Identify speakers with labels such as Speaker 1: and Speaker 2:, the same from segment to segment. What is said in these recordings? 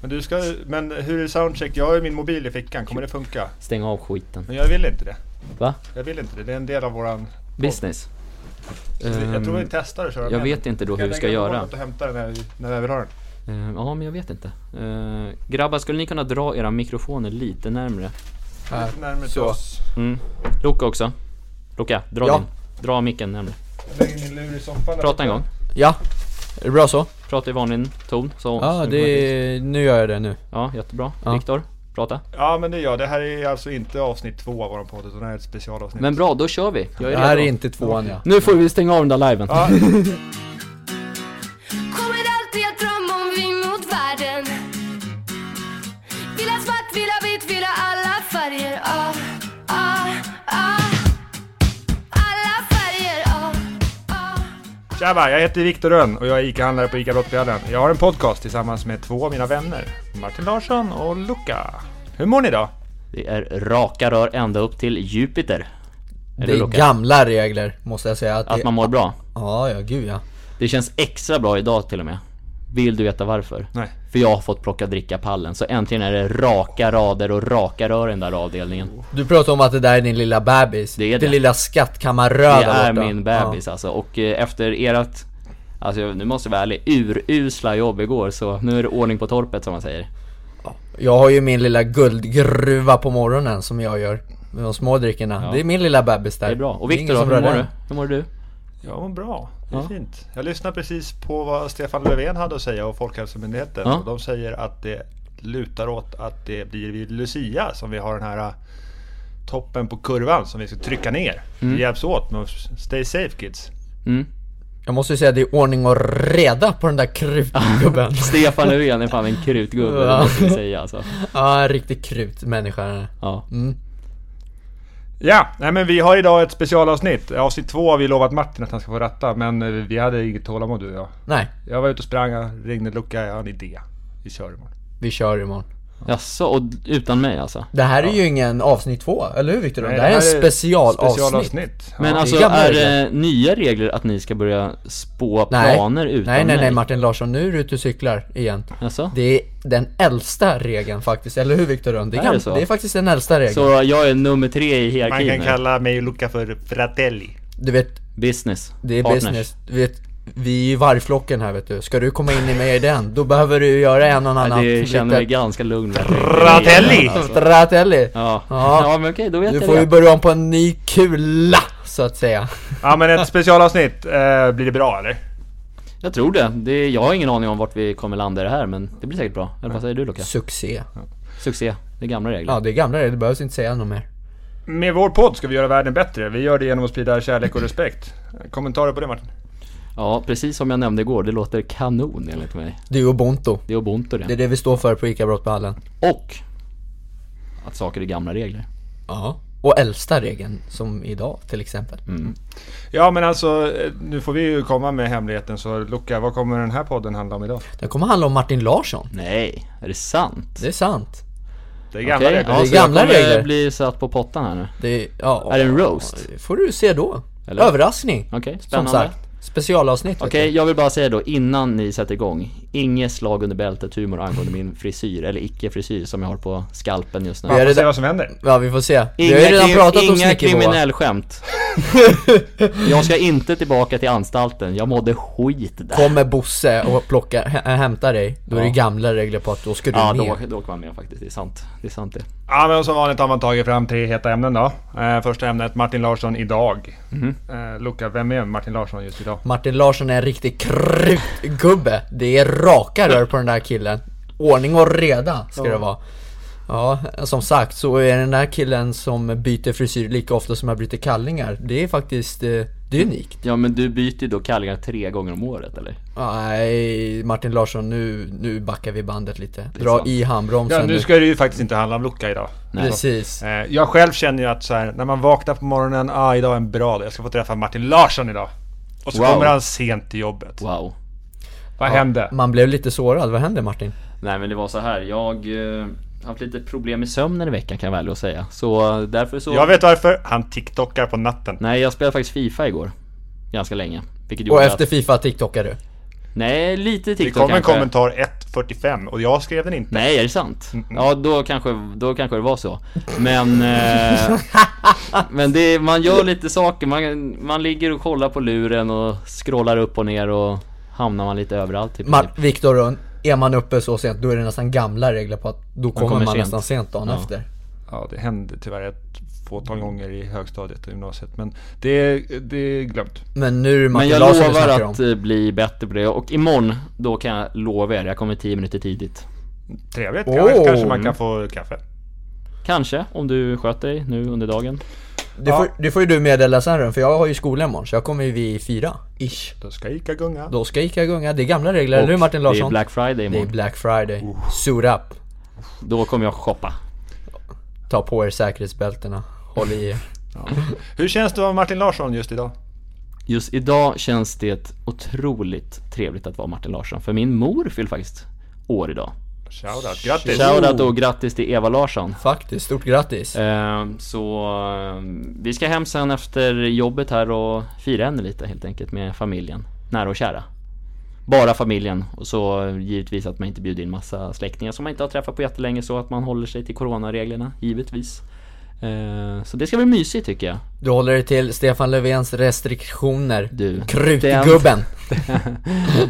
Speaker 1: Men, du ska, men hur är soundcheck? Jag har ju min mobil i fickan, kommer det funka?
Speaker 2: Stäng av skiten.
Speaker 1: Men jag vill inte det.
Speaker 2: Va?
Speaker 1: Jag vill inte det, det är en del av våran...
Speaker 2: Business.
Speaker 1: Så jag tror vi
Speaker 2: Ehm,
Speaker 1: testar att köra
Speaker 2: jag
Speaker 1: med
Speaker 2: vet
Speaker 1: den.
Speaker 2: inte då hur vi
Speaker 1: jag
Speaker 2: ska
Speaker 1: lägga
Speaker 2: göra.
Speaker 1: på något och hämta den när, när jag vill ha den?
Speaker 2: Ehm, ja, men jag vet inte. Ehm, grabbar, skulle ni kunna dra era mikrofoner lite närmre?
Speaker 3: Här.
Speaker 1: Lite närmare till
Speaker 3: Så.
Speaker 1: oss.
Speaker 2: Mm. Luca också. Luca, dra
Speaker 3: Ja.
Speaker 2: din. Dra micken närmre.
Speaker 1: Jag lägger min lur i soffan. där
Speaker 2: Prata
Speaker 1: borta.
Speaker 2: en gång.
Speaker 3: Ja, är det bra så?
Speaker 2: Prata i vanlig ton. Så,
Speaker 3: Ja,
Speaker 2: så-
Speaker 3: det är, nu gör jag det nu.
Speaker 2: Ja, jättebra.
Speaker 3: Ja.
Speaker 2: Viktor, prata.
Speaker 1: Ja men det är jag, det här är alltså inte avsnitt två av våran podd utan det här är ett specialavsnitt.
Speaker 2: Men bra, då kör vi. Jag är
Speaker 3: Det här är
Speaker 2: redo.
Speaker 3: inte tvåan ja.
Speaker 2: Nu får vi stänga av den där liven.
Speaker 1: Ja,
Speaker 4: Kommer alltid att drömma om vi mot världen Vill ha svart, vill ha vitt, vill ha alla färger ah, ah, ah. Alla färger ah, ah.
Speaker 1: tjaba, jag heter Viktor Rönn och jag är ICA-handlare på ICA Brottbjörnen. Jag har en podcast tillsammans med två av mina vänner, Martin Larsson och Luca. Hur mår ni då?
Speaker 2: Det är raka rör ända upp till Jupiter. Är
Speaker 3: Det
Speaker 2: det
Speaker 3: är
Speaker 2: Luca?
Speaker 3: gamla regler, måste jag säga. Att, det,
Speaker 2: Att man mår bra.
Speaker 3: Ja, ja, gud ja.
Speaker 2: Det känns extra bra idag till och med. Vill du veta varför?
Speaker 1: Nej.
Speaker 2: För jag har fått plocka dricka-pallen, så äntligen är det raka rader och raka rör i den där avdelningen.
Speaker 3: Du pratar om att det där är din lilla bebis.
Speaker 2: Det är det.
Speaker 3: Din lilla skattkammarröda
Speaker 2: Det är
Speaker 3: borta.
Speaker 2: min bebis alltså. Och eh, efter ert, alltså jag- nu måste jag vara ärlig, urusla jobb igår så nu är det ordning på torpet som man säger.
Speaker 3: Ja. Jag har ju min lilla guldgruva på morgonen som jag gör. Med de små drickorna. Det är min lilla bebis där.
Speaker 2: Det är bra. Och
Speaker 3: Det är ingen
Speaker 2: Viktor då,
Speaker 3: som
Speaker 2: hur
Speaker 3: rör
Speaker 2: mår du?
Speaker 3: den.
Speaker 2: Hur mår du?
Speaker 1: Jag mår bra, det är
Speaker 2: Ja.
Speaker 1: fint. Jag lyssnade precis på vad Stefan Löfven hade att säga och Folkhälsomyndigheten.
Speaker 2: Ja.
Speaker 1: Och de säger att det lutar åt att det blir vid Lucia som vi har den här eh, toppen på kurvan som vi ska trycka ner. Vi hjälps åt, men stay safe kids.
Speaker 2: Mm.
Speaker 3: Jag måste ju säga att det är ordning och reda på den där krutgubben.
Speaker 2: Stefan Löfven är fan en krutgubbe, det
Speaker 3: Ja.
Speaker 2: måste vi säga alltså.
Speaker 3: ja, en riktig krutmänniska. den här.
Speaker 2: Ja.
Speaker 1: Ja, nej men vi har idag ett specialavsnitt. Avsnitt två har vi lovat Martin att han ska få ratta, men eh, vi hade inget tålamod du och jag.
Speaker 3: Nej,
Speaker 1: Jag var ute och sprang, jag ringde Luca, jag har en idé. Vi kör imorgon.
Speaker 3: vi kör imorgon.
Speaker 2: Jaså, och utan mig alltså?
Speaker 3: Det här är ju ingen avsnitt två, eller hur Viktor? Det,
Speaker 1: Nej,
Speaker 3: här är en specialavsnitt.
Speaker 1: specialavsnitt.
Speaker 2: Men
Speaker 3: är
Speaker 2: alltså,
Speaker 3: gamla
Speaker 2: är
Speaker 3: regler.
Speaker 2: det nya regler att ni ska börja spå
Speaker 3: Nej.
Speaker 2: planer utan
Speaker 3: nej, nej, nej
Speaker 2: mig?
Speaker 3: Martin Larsson, nu är du ute och cyklar igen.
Speaker 2: Jaså?
Speaker 3: Det är den äldsta regeln faktiskt, eller hur Viktor Rönn? Det är,
Speaker 2: Är det
Speaker 3: gam-
Speaker 2: så?
Speaker 3: det är faktiskt den äldsta regeln.
Speaker 2: Så jag är nummer tre i
Speaker 1: Man
Speaker 2: hierarkin
Speaker 1: kan
Speaker 2: nu?
Speaker 1: kalla mig och Luca för Fratelli.
Speaker 3: Du vet,
Speaker 2: Business?
Speaker 3: det är
Speaker 2: Partners.
Speaker 3: business. Du vet, vi är ju vargflocken här vet du. Ska du komma in i mig i den, då behöver du göra en och annan
Speaker 2: Nej, det känner mig
Speaker 3: liten-
Speaker 2: ganska lugn med.
Speaker 1: Fratelli!
Speaker 3: Fratelli!
Speaker 2: Ja.
Speaker 3: Ja.
Speaker 2: ja, men okej, då vet
Speaker 3: Du
Speaker 2: jag
Speaker 3: får
Speaker 2: det.
Speaker 3: ju börja om på en ny kula, så att säga.
Speaker 1: Ja men ett specialavsnitt, eh, blir det bra eller?
Speaker 2: Jag tror det. det. Jag har ingen aning om vart vi kommer landa i det här, men det blir säkert bra. Eller vad säger du Luca?
Speaker 3: Succé.
Speaker 2: Succé. Det är gamla regler.
Speaker 3: Ja, det är gamla regler, det behövs inte säga något mer.
Speaker 1: Med vår podd ska vi göra världen bättre. Vi gör det genom att sprida kärlek och respekt. Kommentarer på det Martin?
Speaker 2: Ja, precis som jag nämnde igår. Det låter kanon enligt mig.
Speaker 3: Det är ubuntu.
Speaker 2: Det är ubuntu
Speaker 3: Det är
Speaker 2: det.
Speaker 3: det vi står för på ICA Brottbyhallen.
Speaker 2: Och att saker är gamla regler.
Speaker 3: Ja. Och äldsta regeln, som idag till exempel.
Speaker 2: Mm.
Speaker 1: Ja men alltså, eh, nu får vi ju komma med hemligheten så Luca, vad kommer den här podden handla om idag?
Speaker 3: Den kommer handla om Martin Larsson.
Speaker 2: Nej, är det sant?
Speaker 3: Det är sant.
Speaker 1: Det är gamla
Speaker 2: Okej,
Speaker 1: regler.
Speaker 2: Ja,
Speaker 3: Det är
Speaker 2: så jag
Speaker 3: gamla
Speaker 2: kommer
Speaker 3: regler.
Speaker 2: bli satt på pottan här nu.
Speaker 3: Det är, ja,
Speaker 2: Är det en roast?
Speaker 3: det får du se då.
Speaker 2: Eller?
Speaker 3: Överraskning.
Speaker 2: Okej,
Speaker 3: Som
Speaker 2: spännande.
Speaker 3: sagt. Specialavsnitt. vet
Speaker 2: Okej,
Speaker 3: du.
Speaker 2: jag vill bara säga då innan ni sätter igång. Inget slag under bältet humor angående min frisyr, eller icke-frisyr som jag har på skalpen just nu.
Speaker 3: Vi har
Speaker 1: Vi får se
Speaker 3: redan,
Speaker 1: vad som händer.
Speaker 3: ja, vi får se. Vi
Speaker 2: Inga,
Speaker 3: har ju redan
Speaker 2: krim-
Speaker 3: pratat om
Speaker 2: inga
Speaker 3: snickerboa.
Speaker 2: kriminellskämt. jag ska inte tillbaka till anstalten, jag mådde skit där.
Speaker 3: Kommer Bosse och plockar, hä- hämtar dig, då är det
Speaker 2: Ja.
Speaker 3: gamla regler på att då ska du
Speaker 2: Ja,
Speaker 3: ner.
Speaker 2: då, då åker man med faktiskt. Det är sant. Det är sant det.
Speaker 1: Ja men som vanligt har man tagit fram tre heta ämnen då. Eh, första ämnet, Martin Larsson idag. Eh, Luca, vem är Martin Larsson just idag?
Speaker 3: Martin Larsson är en riktig krutgubbe. Det är raka rör på den där killen. Ordning och reda ska det vara. Ja, som sagt så är den där killen som byter frisyr lika ofta som jag byter kallingar. Det är faktiskt, eh, det är unikt.
Speaker 2: Ja, men du byter ju då kallingar tre gånger om året, eller?
Speaker 3: Nej, Martin Larsson nu, nu backar vi bandet lite.
Speaker 2: är
Speaker 3: Dra
Speaker 2: sant.
Speaker 3: i handbromsen
Speaker 1: Ja, nu ska det ju faktiskt inte handla om Luca idag.
Speaker 3: Precis.
Speaker 1: Eh, jag själv känner ju att så här, när man vaknar på morgonen, ah idag är en bra dag, jag ska få träffa Martin Larsson idag. Och så
Speaker 2: Wow.
Speaker 1: kommer han sent till jobbet.
Speaker 2: Wow.
Speaker 1: Vad hände?
Speaker 3: Man blev lite sårad, vad hände Martin?
Speaker 2: Nej, men det var så här. Jag eh, haft lite problem med sömnen i veckan kan jag välja att säga. Så eh, därför så...
Speaker 1: Jag vet varför, han tiktokar på natten.
Speaker 2: Nej, jag spelade faktiskt FIFA igår. Ganska länge. Vilket
Speaker 3: Och
Speaker 2: gjorde
Speaker 3: efter Fifa tiktokar du?
Speaker 2: att... Nej, lite
Speaker 1: Det
Speaker 2: TikTok
Speaker 1: kom en
Speaker 2: kanske.
Speaker 1: kommentar Mm, 1.45 och jag skrev den inte.
Speaker 2: Nej, är det sant? Ja, då kanske, då kanske det var så. Men, eh, men det, man gör lite saker. Man, man ligger och kollar på luren och scrollar upp och ner och hamnar man lite överallt. Typ.
Speaker 3: Ma- Viktor Rönn, är man uppe så sent då är det nästan gamla regler på att då kommer man,
Speaker 2: kommer sent.
Speaker 3: nästan sent dagen
Speaker 2: Ja.
Speaker 3: efter.
Speaker 1: Ja, det hände tyvärr ett fåtal gånger i högstadiet och gymnasiet. Men det, det är glömt.
Speaker 3: Men nu är det
Speaker 2: men
Speaker 3: Martin
Speaker 2: jag
Speaker 3: Larsson vi
Speaker 2: lovar
Speaker 3: snackar
Speaker 2: att
Speaker 3: om.
Speaker 2: eh, bli bättre på det och imorgon, då kan jag lova er, jag kommer 10 minuter tidigt.
Speaker 1: Trevligt.
Speaker 3: Åh.
Speaker 1: Kanske- Kanske man kan få kaffe.
Speaker 2: Kanske, om du sköter dig nu under dagen.
Speaker 3: Det, får, det får ju du meddela sen Rönn, för jag har ju skola imorgon så jag kommer ju vid fyra, ish.
Speaker 1: Då ska Ica gunga.
Speaker 3: Då ska Ica gunga, det är gamla regler, eller hur
Speaker 2: Och
Speaker 3: Martin
Speaker 2: Det
Speaker 3: Larsson?
Speaker 2: är Black Friday
Speaker 3: det är
Speaker 2: imorgon.
Speaker 3: Black Friday. Suit up.
Speaker 2: Då kommer jag shoppa.
Speaker 3: Ta på er säkerhetsbältena. Håll i er.
Speaker 1: Hur känns det att vara Martin Larsson just idag?
Speaker 2: Just idag känns det otroligt trevligt att vara Martin Larsson, för min mor fyller faktiskt år idag.
Speaker 1: Shoutout, grattis!
Speaker 2: Shoutout och grattis till Eva Larsson.
Speaker 3: Faktiskt, stort grattis.
Speaker 2: Eh, Så eh, vi ska hem sen efter jobbet här och fira henne lite helt enkelt med familjen, nära och kära. Bara familjen och så eh, givetvis att man inte bjuder in massa släktingar som man inte har träffat på jättelänge så att man håller sig till coronareglerna, givetvis. Eh, Så det ska bli mysigt tycker jag.
Speaker 3: Du håller dig till Stefan Löfvens restriktioner.
Speaker 2: Du,
Speaker 3: Krutgubben.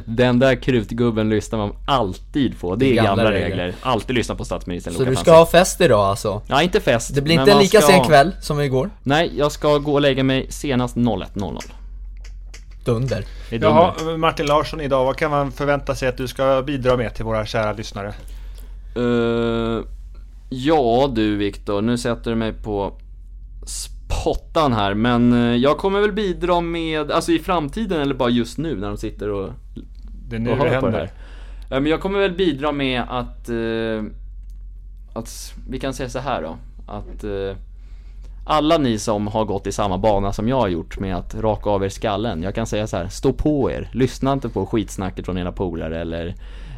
Speaker 2: Den där krutgubben lyssnar man alltid på, det är gamla, regler. Alltid lyssna på statsministern
Speaker 3: Så
Speaker 2: Loka
Speaker 3: du
Speaker 2: Fransson.
Speaker 3: ska ha fest idag alltså?
Speaker 2: Ja, inte fest.
Speaker 3: Det blir
Speaker 2: men
Speaker 3: inte en
Speaker 2: man
Speaker 3: lika
Speaker 2: ska-
Speaker 3: sen kväll som igår.
Speaker 2: Nej, jag ska gå och lägga mig senast 01.00.
Speaker 3: Dunder.
Speaker 2: Det är
Speaker 1: Jaha,
Speaker 2: dumt.
Speaker 1: Martin Larsson idag, vad kan man förvänta sig att du ska bidra med till våra kära lyssnare?
Speaker 2: Eh, ja du Viktor, nu sätter du mig på spottan här men eh, jag kommer väl bidra med, alltså i framtiden eller bara just nu när de sitter och, och
Speaker 1: Det är nu det
Speaker 2: hör på det
Speaker 1: händer.
Speaker 2: här. Eh, men jag kommer väl bidra med att, eh, att s- vi kan säga så här då, att eh, alla ni som har gått i samma bana som jag har gjort med att raka av er skallen. Jag kan säga så här, stå på er. Lyssna inte på skitsnacket från era polare eller,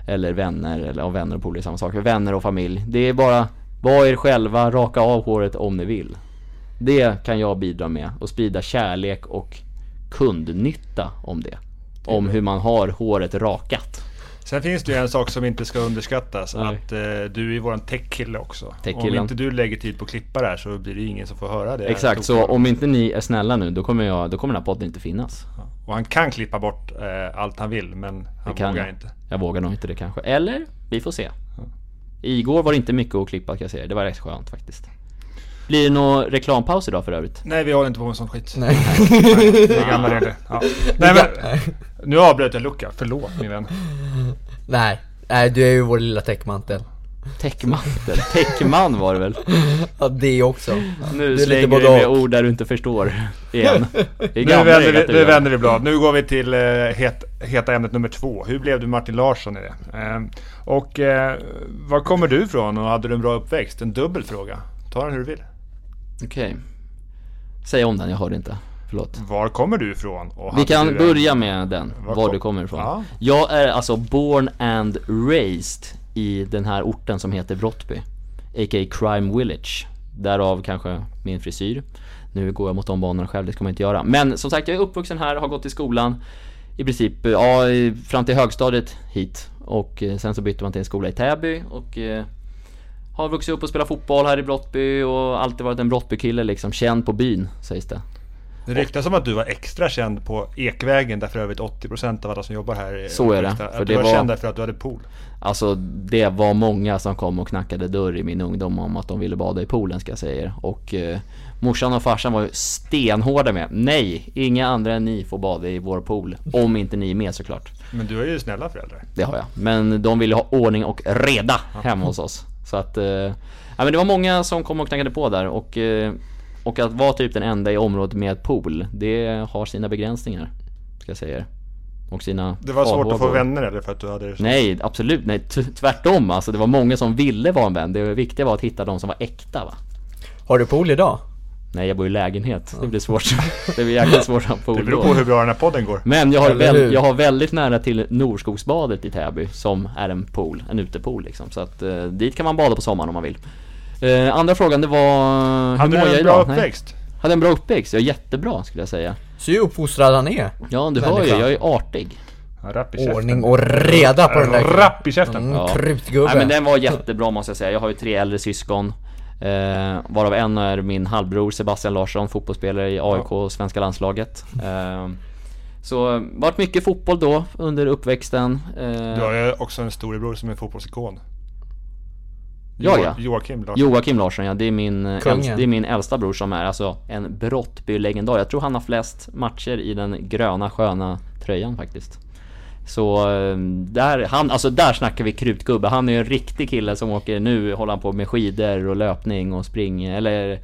Speaker 2: eller vänner. Eller om vänner och polare är samma sak. Vänner och familj. Det är bara, var er själva, raka av håret om ni vill. Det kan jag bidra med och sprida kärlek och kundnytta om det. Om hur man har håret rakat.
Speaker 1: Sen finns det ju en sak som inte ska underskattas.
Speaker 2: Nej.
Speaker 1: Att eh, du är våran tech-kille också. Om
Speaker 2: Tech-killen.
Speaker 1: inte du lägger tid på att klippa det här så blir det ingen som får höra det. här
Speaker 2: Exakt, så
Speaker 1: tokiga.
Speaker 2: om inte ni är snälla nu då kommer, jag, då kommer den här podden inte finnas.
Speaker 1: Och han kan klippa bort eh, allt han vill, men han
Speaker 2: kan
Speaker 1: vågar
Speaker 2: jag.
Speaker 1: inte.
Speaker 2: Jag vågar nog inte det kanske. Eller, vi får se. Igår var det inte mycket att klippa kan jag säga. Det var rätt skönt faktiskt. Blir det någon reklampaus idag för övrigt?
Speaker 1: Nej, vi håller inte på med sån skit.
Speaker 3: Nej.
Speaker 1: Det är gamla regler. Ja. Nej, men, nu avbröt jag Luca, förlåt min vän.
Speaker 3: Nej. Nej, du är ju vår lilla täckmantel.
Speaker 2: Täckmantel? Täckman var det väl?
Speaker 3: Ja, det också.
Speaker 2: Nu
Speaker 3: lite
Speaker 2: slänger
Speaker 3: både
Speaker 2: du med
Speaker 3: och.
Speaker 2: ord där du inte förstår. Igen. Det är
Speaker 1: Nu
Speaker 2: gamla
Speaker 1: vänder,
Speaker 2: regler
Speaker 1: vi,
Speaker 2: att
Speaker 1: nu
Speaker 2: du gör.
Speaker 1: vänder vi blad. Nu går vi till eh, het, heta ämnet nummer två. Hur blev du Martin Larsson i det? Ehm, och eh, var kommer du ifrån och hade du en bra uppväxt? En dubbel fråga. Ta den hur du vill.
Speaker 2: Okej. Säg om den, jag hörde inte. Förlåt.
Speaker 1: Var kommer du ifrån? Och
Speaker 2: Vi
Speaker 1: hade du
Speaker 2: kan
Speaker 1: en-
Speaker 2: börja med den,
Speaker 1: Var
Speaker 2: var,
Speaker 1: kom-
Speaker 2: du kommer ifrån.
Speaker 1: Ja.
Speaker 2: Jag är alltså born and raised i den här orten som heter Brottby. A.k.a. Crime Village. Därav kanske min frisyr. Nu går jag mot de banorna själv, det ska man inte göra. Men som sagt, jag är uppvuxen här, har gått i skolan i princip, ja, i- fram till högstadiet hit. Och eh, sen så bytte man till en skola i Täby och eh, har vuxit upp och spelat fotboll här i Brottby och alltid varit en Brottbykille liksom, känd på byn sägs det.
Speaker 1: Det ryktas om att du var extra känd på Ekvägen där för övrigt 80% av alla som jobbar här
Speaker 2: Så är det,
Speaker 1: För
Speaker 2: för
Speaker 1: att du
Speaker 2: det
Speaker 1: var
Speaker 2: var-
Speaker 1: känd därför att du hade pool.
Speaker 2: Alltså det var många som kom och knackade dörr i min ungdom om att de ville bada i poolen ska jag säga er. Och eh, morsan och farsan var ju stenhårda med. Nej, inga andra än ni får bada i vår pool. Om inte ni är med såklart.
Speaker 1: Men du är ju snälla föräldrar.
Speaker 2: Det har jag. Men de ville ha ordning och reda hemma hos oss. Så att... Eh, ja, men det var många som kom och knackade på där och... Eh, och att vara typ den enda i området med pool, det har sina begränsningar. Ska jag säga er. Och sina
Speaker 1: Det var svårt att få
Speaker 2: farhågor.
Speaker 1: vänner eller för att du hade det så?
Speaker 2: Nej, absolut. Nej, t- tvärtom alltså. Det var många som ville vara en vän. Det viktiga var att hitta de som var äkta va.
Speaker 3: Har du pool idag?
Speaker 2: Nej, jag bor i lägenhet. Det blir svårt. Det blir jäkligt svårt att få
Speaker 1: Det
Speaker 2: ord
Speaker 1: beror
Speaker 2: då.
Speaker 1: på hur bra den här podden går.
Speaker 2: Men jag har,
Speaker 3: Eller hur?
Speaker 2: väl, jag har väldigt nära till Norskogsbadet i Täby som är en pool, en utepool liksom. Så att eh, dit kan man bada på sommaren om man vill. Eh, andra frågan det var... Hur
Speaker 1: Hade
Speaker 2: mår
Speaker 1: du
Speaker 2: jag
Speaker 1: en bra
Speaker 2: idag? Nej.
Speaker 1: uppväxt?
Speaker 2: Hade en bra uppväxt? Ja, jättebra skulle jag säga.
Speaker 3: Så hur uppfostrad han är.
Speaker 2: Ja, du hör
Speaker 3: Människa.
Speaker 2: ju. Jag är artig.
Speaker 1: Ja, Rapp i käften.
Speaker 3: Ordning och reda på den där killen.
Speaker 1: Rapp i käften.
Speaker 3: Mm,
Speaker 2: Ja.
Speaker 3: Krutgubbe.
Speaker 2: Nej men den var jättebra måste jag säga. Jag har ju tre äldre syskon. Eh, varav en är min halvbror Sebastian Larsson, fotbollsspelare i AIK och svenska landslaget. Eh, så eh, vart mycket fotboll då under uppväxten. Eh,
Speaker 1: Du har ju också en storebror som är fotbollsikon.
Speaker 2: Ja,
Speaker 1: Jo-
Speaker 2: ja.
Speaker 1: Joakim Larsson.
Speaker 2: Joakim Larsson ja, det är min, eh,
Speaker 3: Kungen.
Speaker 2: äldst, det är min äldsta bror som är alltså en Brottby-legendar. Jag tror han har flest matcher i den gröna sköna tröjan faktiskt. Så eh, där, han, alltså där snackar vi krutgubbe. Han är ju en riktig kille som åker, nu håller han på med skidor och löpning och spring, eller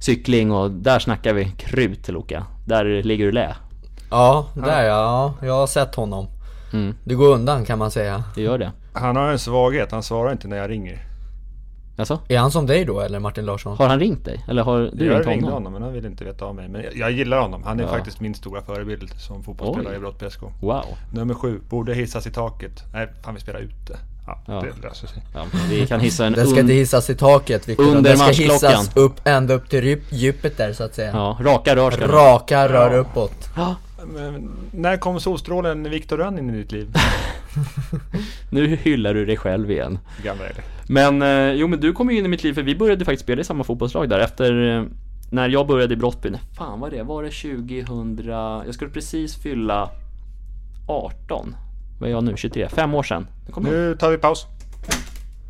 Speaker 2: cykling och där snackar vi krut till Loka. Där ligger du lä.
Speaker 3: Ja, där ja. ja. Jag har sett honom.
Speaker 2: Mm.
Speaker 3: Du går undan kan man säga.
Speaker 2: Det gör det.
Speaker 1: Han har en svaghet, han svarar inte när jag ringer.
Speaker 2: Alltså,
Speaker 3: Är han som dig då eller Martin Larsson?
Speaker 2: har han ringt dig? Eller har du
Speaker 1: jag
Speaker 2: ringt
Speaker 1: ringde
Speaker 2: honom?
Speaker 1: honom men han ville inte veta av mig. Men jag, jag gillar honom, han är
Speaker 2: Ja.
Speaker 1: faktiskt min stora förebild som fotbollsspelare
Speaker 2: Oj.
Speaker 1: i Brottby SK.
Speaker 2: Wow.
Speaker 1: Nummer sju, borde hissas i taket. Nej, fan vi spelar ute. Ja,
Speaker 2: Ja.
Speaker 1: det löser sig.
Speaker 2: Ja, vi kan hissa en
Speaker 3: Den ska
Speaker 2: un-
Speaker 3: inte hissas i taket Victor.
Speaker 2: Under
Speaker 3: Den ska hissas
Speaker 2: matchklockan.
Speaker 3: upp ända upp till djup- djupet där så att säga.
Speaker 2: Ja, raka rör ska det vara.
Speaker 3: Raka rör uppåt.
Speaker 2: Ja,
Speaker 1: Men, när kom solstrålen Viktor Rönn in i ditt liv?
Speaker 2: Nu hyllar du dig själv igen.
Speaker 1: Gamla är det.
Speaker 2: Men eh, jo men du kom ju in i mitt liv för vi började faktiskt spela i samma fotbollslag där efter eh, när jag började i Brottby, när fan var det? Var det 2000? Jag skulle precis fylla 18. Vad är jag nu? 23? Fem år sedan. Nu kommer jag
Speaker 1: Nu tar vi paus.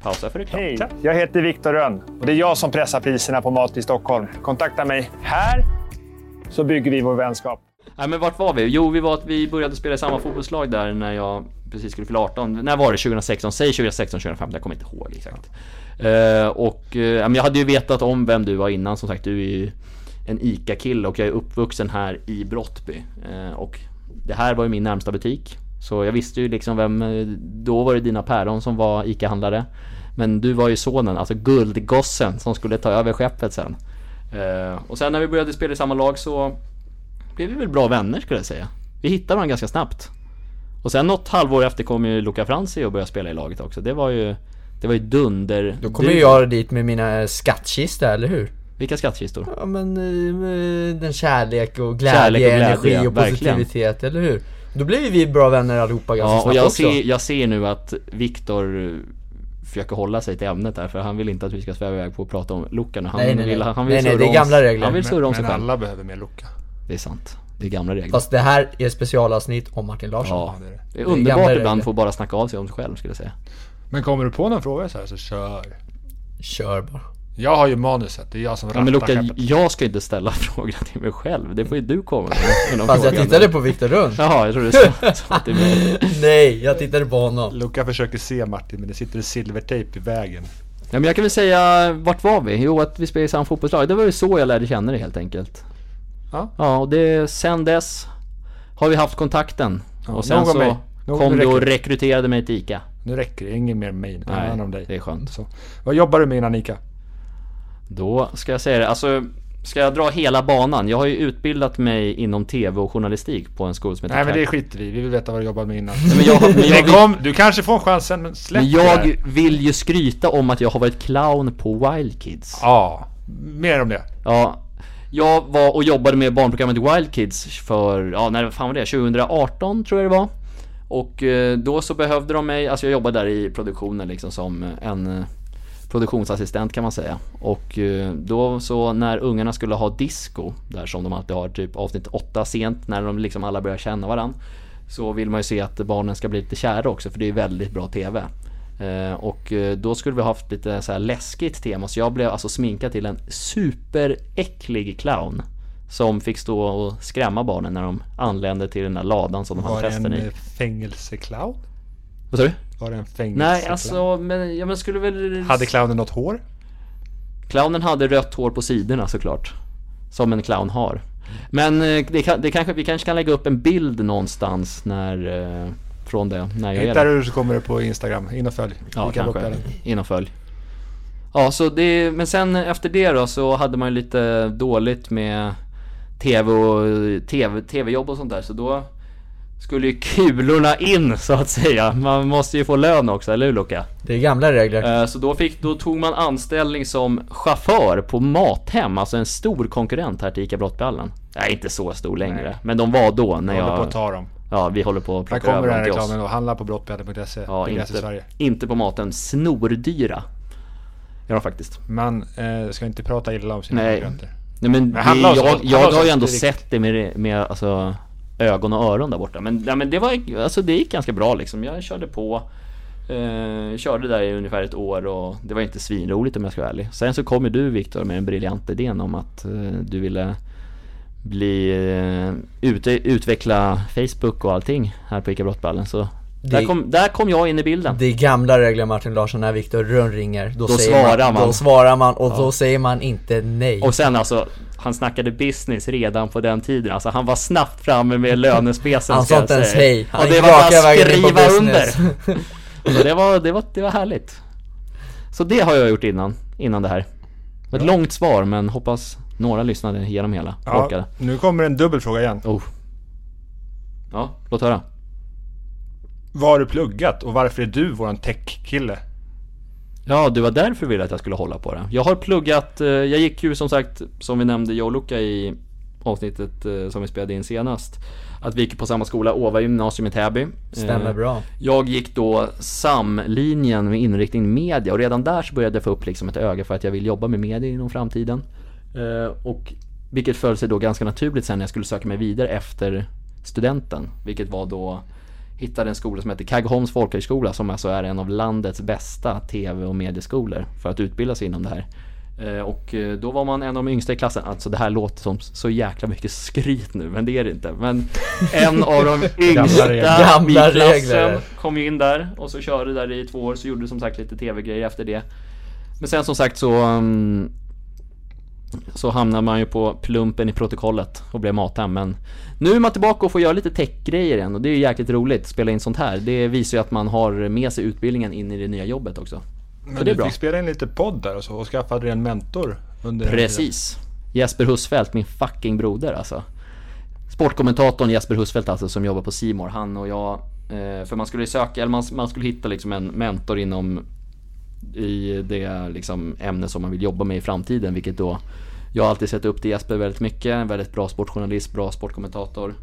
Speaker 2: pausa för reklam.
Speaker 5: Hej, jag heter Viktor Rönn och det är jag som pressar priserna på mat i Stockholm. Kontakta mig här så bygger vi vår vänskap.
Speaker 2: Nej men vart var vi? Jo vi var att vi började spela i samma fotbollslag där när jag precis skulle fylla 18. När var det? 2016? Säg 2016, 2015, jag kommer inte ihåg exakt. Eh, och eh, ja, men jag hade ju vetat om vem du var innan som sagt. Du är ju en ICA-kille och jag är uppvuxen här i Brottby. Eh, och det här var ju min närmsta butik. Så jag visste ju liksom vem, eh, då var det dina päron som var ICA-handlare. Men du var ju sonen, alltså guldgossen som skulle ta över skeppet sen. Eh, och sen när vi började spela i samma lag så blev vi väl bra vänner skulle jag säga. Vi hittade varandra ganska snabbt. Och sen något halvår efter kom ju Luca Franzi och började spela i laget också. Det var ju, det var ju dunder.
Speaker 3: Då kommer ju jag dit med mina eh, skattkista, eller hur?
Speaker 2: Vilka skattkistor?
Speaker 3: Ja men eh, den kärlek och glädje,
Speaker 2: Kärlek och glädje,
Speaker 3: energi och
Speaker 2: verkligen.
Speaker 3: positivitet, eller hur? Då blir vi bra vänner allihopa ganska
Speaker 2: Ja, och
Speaker 3: snabbt
Speaker 2: jag
Speaker 3: också.
Speaker 2: ser, jag ser nu att Viktor eh, försöker hålla sig till ämnet där för han vill inte att vi ska sväva iväg på att prata om Luca nu. Han
Speaker 3: Nej, nej, nej.
Speaker 2: vill, Han vill
Speaker 3: Nej, nej,
Speaker 2: surra
Speaker 3: det är
Speaker 2: om-
Speaker 3: gamla regler.
Speaker 2: Han vill surra om
Speaker 1: Men,
Speaker 2: sig
Speaker 1: men
Speaker 2: själv.
Speaker 1: alla behöver mer lucka.
Speaker 2: Det är sant. Det är gamla regler.
Speaker 3: Fast det här är specialavsnitt om Martin Larsson.
Speaker 2: ja,
Speaker 1: det är det.
Speaker 2: det är
Speaker 3: gamla
Speaker 2: underbart
Speaker 3: regler.
Speaker 2: ibland att få bara snacka av sig om sig själv skulle jag säga.
Speaker 1: Men kommer du på någon fråga så här så kör.
Speaker 3: Kör bara.
Speaker 1: Jag har ju manuset, det är jag som
Speaker 2: Ja, men
Speaker 1: rattar
Speaker 2: Luca,
Speaker 1: skeppet.
Speaker 2: jag ska inte ställa frågor till mig själv. Det får ju du komma med. med de
Speaker 3: Fast jag
Speaker 2: frågorna.
Speaker 3: tittade på Viktor Rönn.
Speaker 2: Jaha, jag trodde du sa att det var...
Speaker 3: Nej, jag tittade på honom.
Speaker 1: Luca försöker se Martin men det sitter silvertejp i vägen.
Speaker 2: Ja, men jag kan väl säga, vart var vi? Jo, att vi spelade i samma fotbollslag. Det var ju så jag lärde känna dig helt enkelt.
Speaker 1: Ja.
Speaker 2: Ja, och det, sen dess har vi haft kontakten. och sen
Speaker 1: nog om
Speaker 2: så
Speaker 1: mig. Nog-
Speaker 2: kom
Speaker 1: nu
Speaker 2: du och
Speaker 1: räcker
Speaker 2: rekryterade mig till ICA.
Speaker 1: Nu räcker det, ingen mer mig. Det handlar om dig.
Speaker 2: det är skönt.
Speaker 1: Så. Vad jobbar du med innan ICA?
Speaker 2: Då ska jag säga det, alltså ska jag dra hela banan? Jag har ju utbildat mig inom TV och journalistik på en skola som heter
Speaker 1: Nej men det
Speaker 2: Tack-
Speaker 1: skiter vi i. vi vill veta vad du jobbar med innan.
Speaker 2: men jag, men jag,
Speaker 1: Men
Speaker 2: vill,
Speaker 1: kom, du kanske får en chans sen men släpp
Speaker 2: men
Speaker 1: det
Speaker 2: jag
Speaker 1: där.
Speaker 2: vill ju skryta om att jag har varit clown på Wild Kids.
Speaker 1: Ja, mer om det.
Speaker 2: Ja, jag var och jobbade med barnprogrammet Wild Kids för, ja när fan var det? 2018 tror jag det var. Och eh, då så behövde de mig, alltså jag jobbade där i produktionen liksom som en eh, produktionsassistent kan man säga. Och eh, då så när ungarna skulle ha disco, där som de alltid har typ avsnitt 8 sent när de liksom alla börjar känna varandra. Så vill man ju se att barnen ska bli lite kära också för det är väldigt bra TV. Eh, Och eh, då skulle vi haft lite så här läskigt tema så jag blev alltså sminkad till en superäcklig clown. Som fick stå och skrämma barnen när de anlände till den där ladan som de
Speaker 1: Var
Speaker 2: hade
Speaker 1: det en
Speaker 2: festen
Speaker 1: eh,
Speaker 2: i.
Speaker 1: fängelseclown?
Speaker 2: Vad sa du?
Speaker 1: Var det en fängelseclown?
Speaker 2: Nej alltså men jag men skulle väl...
Speaker 1: Hade clownen något hår?
Speaker 2: Clownen hade rött hår på sidorna såklart. Som en clown har. Men eh, det kan, det kanske, vi kanske kan lägga upp en bild någonstans när... eh, Från det, när jag är
Speaker 1: Hittar
Speaker 2: där.
Speaker 1: du det så kommer det på Instagram. In och följ.
Speaker 2: Ja,
Speaker 1: Vi kan locka
Speaker 2: kanske.
Speaker 1: den.
Speaker 2: In och följ. Ja, så det, men sen efter det då så hade man ju lite dåligt med TV och TV, TV-jobb och sånt där. Så då skulle ju kulorna in så att säga. Man måste ju få lön också, eller hur Luca?
Speaker 3: Det är gamla regler.
Speaker 2: Eh, Så då, fick, då tog man anställning som chaufför på Mathem, alltså en stor konkurrent här till ICA Brottballen. Nej, inte så stor längre, men de var då när
Speaker 1: Jag håller på
Speaker 2: jag...
Speaker 1: att ta dem.
Speaker 2: Ja, vi håller på att
Speaker 1: Här
Speaker 2: plocka
Speaker 1: kommer
Speaker 2: över
Speaker 1: den här
Speaker 2: dem till oss.
Speaker 1: reklamen då. Handla på brottbjörnen.se.
Speaker 2: Ja,
Speaker 1: Begränsar
Speaker 2: inte,
Speaker 1: Sverige.
Speaker 2: inte på maten. Snordyra. Gör de faktiskt.
Speaker 1: Man eh, ska inte prata illa om sina
Speaker 2: Nej.
Speaker 1: konkurrenter.
Speaker 2: Nej men, det,
Speaker 1: handla
Speaker 2: jag,
Speaker 1: oss- handla
Speaker 2: jag,
Speaker 1: oss
Speaker 2: har ju
Speaker 1: inte
Speaker 2: ändå
Speaker 1: riktigt.
Speaker 2: sett det med, med alltså, ögon och öron där borta. Men, nej, men det, var, alltså, det gick ganska bra liksom. Jag körde på. Eh, körde där i ungefär ett år och det var inte svinroligt om jag ska vara ärlig. Sen så kom ju du Viktor med den briljanta idén om att eh, du ville bli, eh, ute, utveckla Facebook och allting här på ICA Brottballen. Så där,
Speaker 3: Det-
Speaker 2: kom, där kom jag in i bilden.
Speaker 3: Det är gamla regler Martin Larsson, när Viktor Rönn ringer, då, säger
Speaker 2: svarar man.
Speaker 3: Då svarar man och då säger man inte nej.
Speaker 2: Och sen alltså, han snackade business redan på den tiden. Alltså han var snabbt framme med lönespecen
Speaker 3: Han
Speaker 2: ska
Speaker 3: sa
Speaker 2: jag
Speaker 3: inte ens
Speaker 2: säga.
Speaker 3: hej. Han
Speaker 2: Och det
Speaker 3: gick
Speaker 2: var
Speaker 3: raka
Speaker 2: bara att
Speaker 3: vägen in på
Speaker 2: skriva under.
Speaker 3: business.
Speaker 2: Så det var, det, var, det var härligt. Så det har jag gjort innan, innan det här. Ett långt svar men hoppas några lyssnade genom hela. Ja. Orkade.
Speaker 1: Ja, nu kommer en dubbel fråga igen.
Speaker 2: Oh. Ja, låt höra.
Speaker 1: Vad har du pluggat och varför är du våran tech-kille?
Speaker 2: Ja, det var därför du ville att jag skulle hålla på det. Jag har pluggat, eh, jag gick ju som sagt, som vi nämnde jag och Luca i avsnittet eh, som vi spelade in senast. Att vi gick på samma skola, Åva gymnasium i Täby.
Speaker 3: Stämmer
Speaker 2: Eh,
Speaker 3: bra.
Speaker 2: Jag gick då SAM-linjen med inriktning media och redan där så började jag få upp liksom ett öga för att jag vill jobba med media inom framtiden. Eh, Och vilket föll sig då ganska naturligt sen när jag skulle söka mig vidare efter studenten. Vilket var då hittade en skola som heter Kaggholms folkhögskola som alltså är en av landets bästa tv och medieskolor för att utbilda sig inom det här. Eh, Och eh, då var man en av de yngsta i klassen. Alltså det här låter som så jäkla mycket skryt nu, men det är det inte. Men en av de yngsta
Speaker 1: regler.
Speaker 2: i
Speaker 3: Gamla
Speaker 2: klassen
Speaker 3: regler.
Speaker 2: kom ju in där och så körde där i två år så gjorde som sagt lite tv-grejer efter det. Men sen som sagt så mm, så hamnar man ju på plumpen i protokollet och blev mathem men Nu är man tillbaka och får göra lite techgrejer igen och det är ju jäkligt roligt spela in sånt här Det visar ju att man har med sig utbildningen in i det nya jobbet också Så
Speaker 1: Men
Speaker 2: det är
Speaker 1: du
Speaker 2: bra
Speaker 1: fick spela in lite podd där och så och skaffade dig en mentor. Under den tiden.
Speaker 2: Precis Jesper Husfeldt, min fucking broder alltså Sportkommentatorn Jesper Husfeldt alltså som jobbar på Simor han och jag eh, För man skulle ju söka, eller man, man skulle hitta liksom en mentor inom i det liksom ämne som man vill jobba med i framtiden. Vilket då, jag har alltid sett upp till Jesper väldigt mycket. En väldigt bra sportjournalist, bra sportkommentator.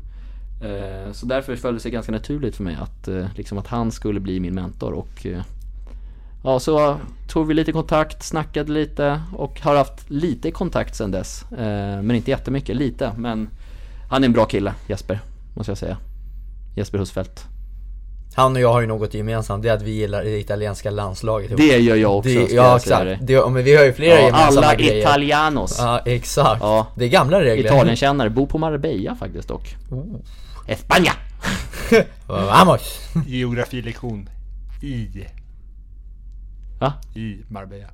Speaker 2: Eh, Så därför föll det sig ganska naturligt för mig att, eh, liksom att han skulle bli min mentor. Och, eh, ja, så tog vi lite kontakt, snackade lite och har haft lite kontakt sedan dess. Eh, Men inte jättemycket, lite. Men han är en bra kille, Jesper, måste jag säga. Jesper Husfeldt.
Speaker 3: Han och jag har ju något gemensamt, det är att vi gillar det italienska landslaget ihop.
Speaker 2: Det gör jag också,
Speaker 3: Det-
Speaker 2: ska
Speaker 3: ja
Speaker 2: jag säga
Speaker 3: exakt, det, ja, men vi har ju flera
Speaker 2: Ja,
Speaker 3: gemensamma
Speaker 2: alla
Speaker 3: grejer.
Speaker 2: italianos.
Speaker 3: Ja exakt,
Speaker 2: Ja.
Speaker 3: det är gamla regler.
Speaker 2: Italienkännare, bor på Marbella faktiskt dock.
Speaker 3: Oh.
Speaker 2: Espanja!
Speaker 3: Vamos!
Speaker 1: Geografilektion i,
Speaker 2: Va?
Speaker 1: i Marbella.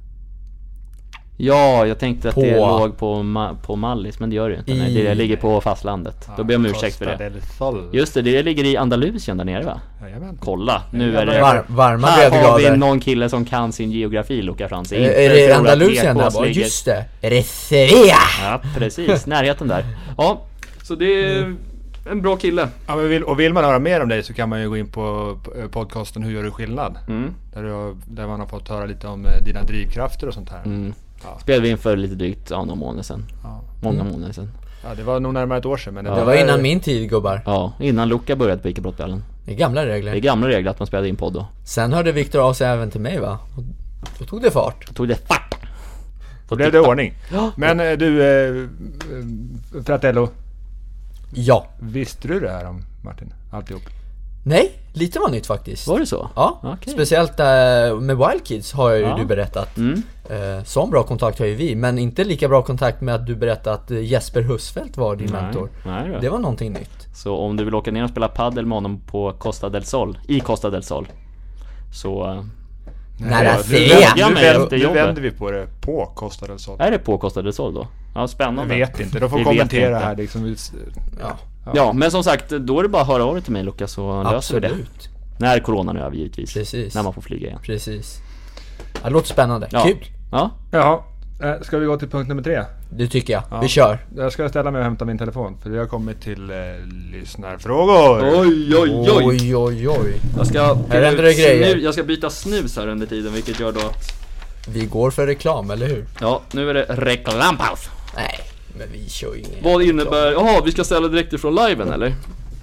Speaker 2: Ja, jag tänkte att det
Speaker 3: På-
Speaker 2: låg på, Ma- på Mallis, men det gör det ju inte. Nej,
Speaker 3: I-
Speaker 2: det ligger på fastlandet. Då ber jag om ursäkt för
Speaker 1: Costa
Speaker 2: det.
Speaker 1: del Sol.
Speaker 2: Just det, det ligger i Andalusien där nere va?
Speaker 1: Jajamän.
Speaker 2: Kolla, nu är det...
Speaker 3: Var, varma
Speaker 2: Här har vi
Speaker 3: breddgrader.
Speaker 2: någon kille som kan sin geografi, Luca Franzi.
Speaker 3: Är,
Speaker 2: Inte
Speaker 3: är det
Speaker 2: tro att
Speaker 3: Andalusien där
Speaker 2: PKs
Speaker 3: bara?
Speaker 2: ligger-
Speaker 3: Just det! Är det Sevilla?
Speaker 2: Ja, precis. Närheten där. Ja, så det
Speaker 3: Mm.
Speaker 2: är en bra kille.
Speaker 1: Ja, men vill, och vill man höra mer om dig så kan man ju gå in på eh, podcasten Hur gör du skillnad?
Speaker 2: Mm.
Speaker 1: Där, du, har- där man har fått höra lite om eh, dina drivkrafter och sånt här.
Speaker 2: Mm. Spelade vi in för lite drygt, ja, några månader sedan. Många
Speaker 3: Mm.
Speaker 2: månader sedan.
Speaker 1: Ja, det var nog närmare ett år sedan. Men
Speaker 3: Det var innan min tid gubbar.
Speaker 2: Ja, innan Luca började på ICA Brottbällen.
Speaker 3: Det är gamla
Speaker 2: Det är
Speaker 3: regler.
Speaker 2: gamla regler att man spelade in podd då.
Speaker 3: Sen hörde Viktor av sig även till mig va? Och då tog det fart.
Speaker 2: Då tog det fart! Då
Speaker 1: blev det ordning. Men eh, du, eh, eh, Fratello.
Speaker 3: Ja.
Speaker 1: Visste du det här om Martin? Alltihop?
Speaker 3: Nej, lite var nytt faktiskt.
Speaker 2: Var det så?
Speaker 3: Ja,
Speaker 2: Okej.
Speaker 3: speciellt eh, med Wild Kids har ju
Speaker 2: Ja.
Speaker 3: du berättat.
Speaker 2: Mm.
Speaker 3: Eh, sån bra kontakt har ju vi, men inte lika bra kontakt med att du berättade att eh, Jesper Husfeldt var din mentor.
Speaker 2: Nej, nej
Speaker 3: Det
Speaker 2: det
Speaker 3: var någonting nytt.
Speaker 2: Så om du vill åka ner och spela paddel med honom på Costa del Sol, i Costa del Sol. Så... eh,
Speaker 3: Nära
Speaker 1: Nu
Speaker 3: Svea!
Speaker 2: Ja,
Speaker 1: vänder-
Speaker 2: men
Speaker 1: nu,
Speaker 2: efter
Speaker 1: vänder, nu
Speaker 2: jobbet.
Speaker 1: vänder vi på det. På Costa del Sol.
Speaker 2: Är det på Costa del Sol då? Ja,
Speaker 1: Jag
Speaker 2: spännande.
Speaker 1: vet inte. De får
Speaker 2: Vi vet
Speaker 1: kommentera
Speaker 2: inte.
Speaker 1: här liksom. Vi s-
Speaker 3: Ja,
Speaker 2: Ja, men som sagt, då är det bara att höra av dig till mig Lukas så löser vi det.
Speaker 3: absolut.
Speaker 2: När coronan är över givetvis.
Speaker 3: Precis.
Speaker 2: När man får flyga igen.
Speaker 3: Precis. Ja, det låter spännande.
Speaker 2: Ja.
Speaker 3: Kul!
Speaker 2: Ja,
Speaker 1: Jaha. Eh, Ska vi gå till punkt nummer tre?
Speaker 3: Det tycker jag. Vi kör.
Speaker 1: Jag ska ställa mig och hämta min telefon för vi har kommit till eh, lyssnarfrågor.
Speaker 2: Oj, oj, oj!
Speaker 3: Oj, oj, oj.
Speaker 2: Jag ska,
Speaker 3: Här händer det grejer.
Speaker 2: jag ska byta snus här under tiden vilket gör då att...
Speaker 3: Vi går för reklam, eller hur?
Speaker 2: Ja, nu är det reklampaus.
Speaker 3: Nej, men vi kör ju ingen.
Speaker 2: Vad innebär... Jaha, vi ska ställa direkt ifrån liven eller?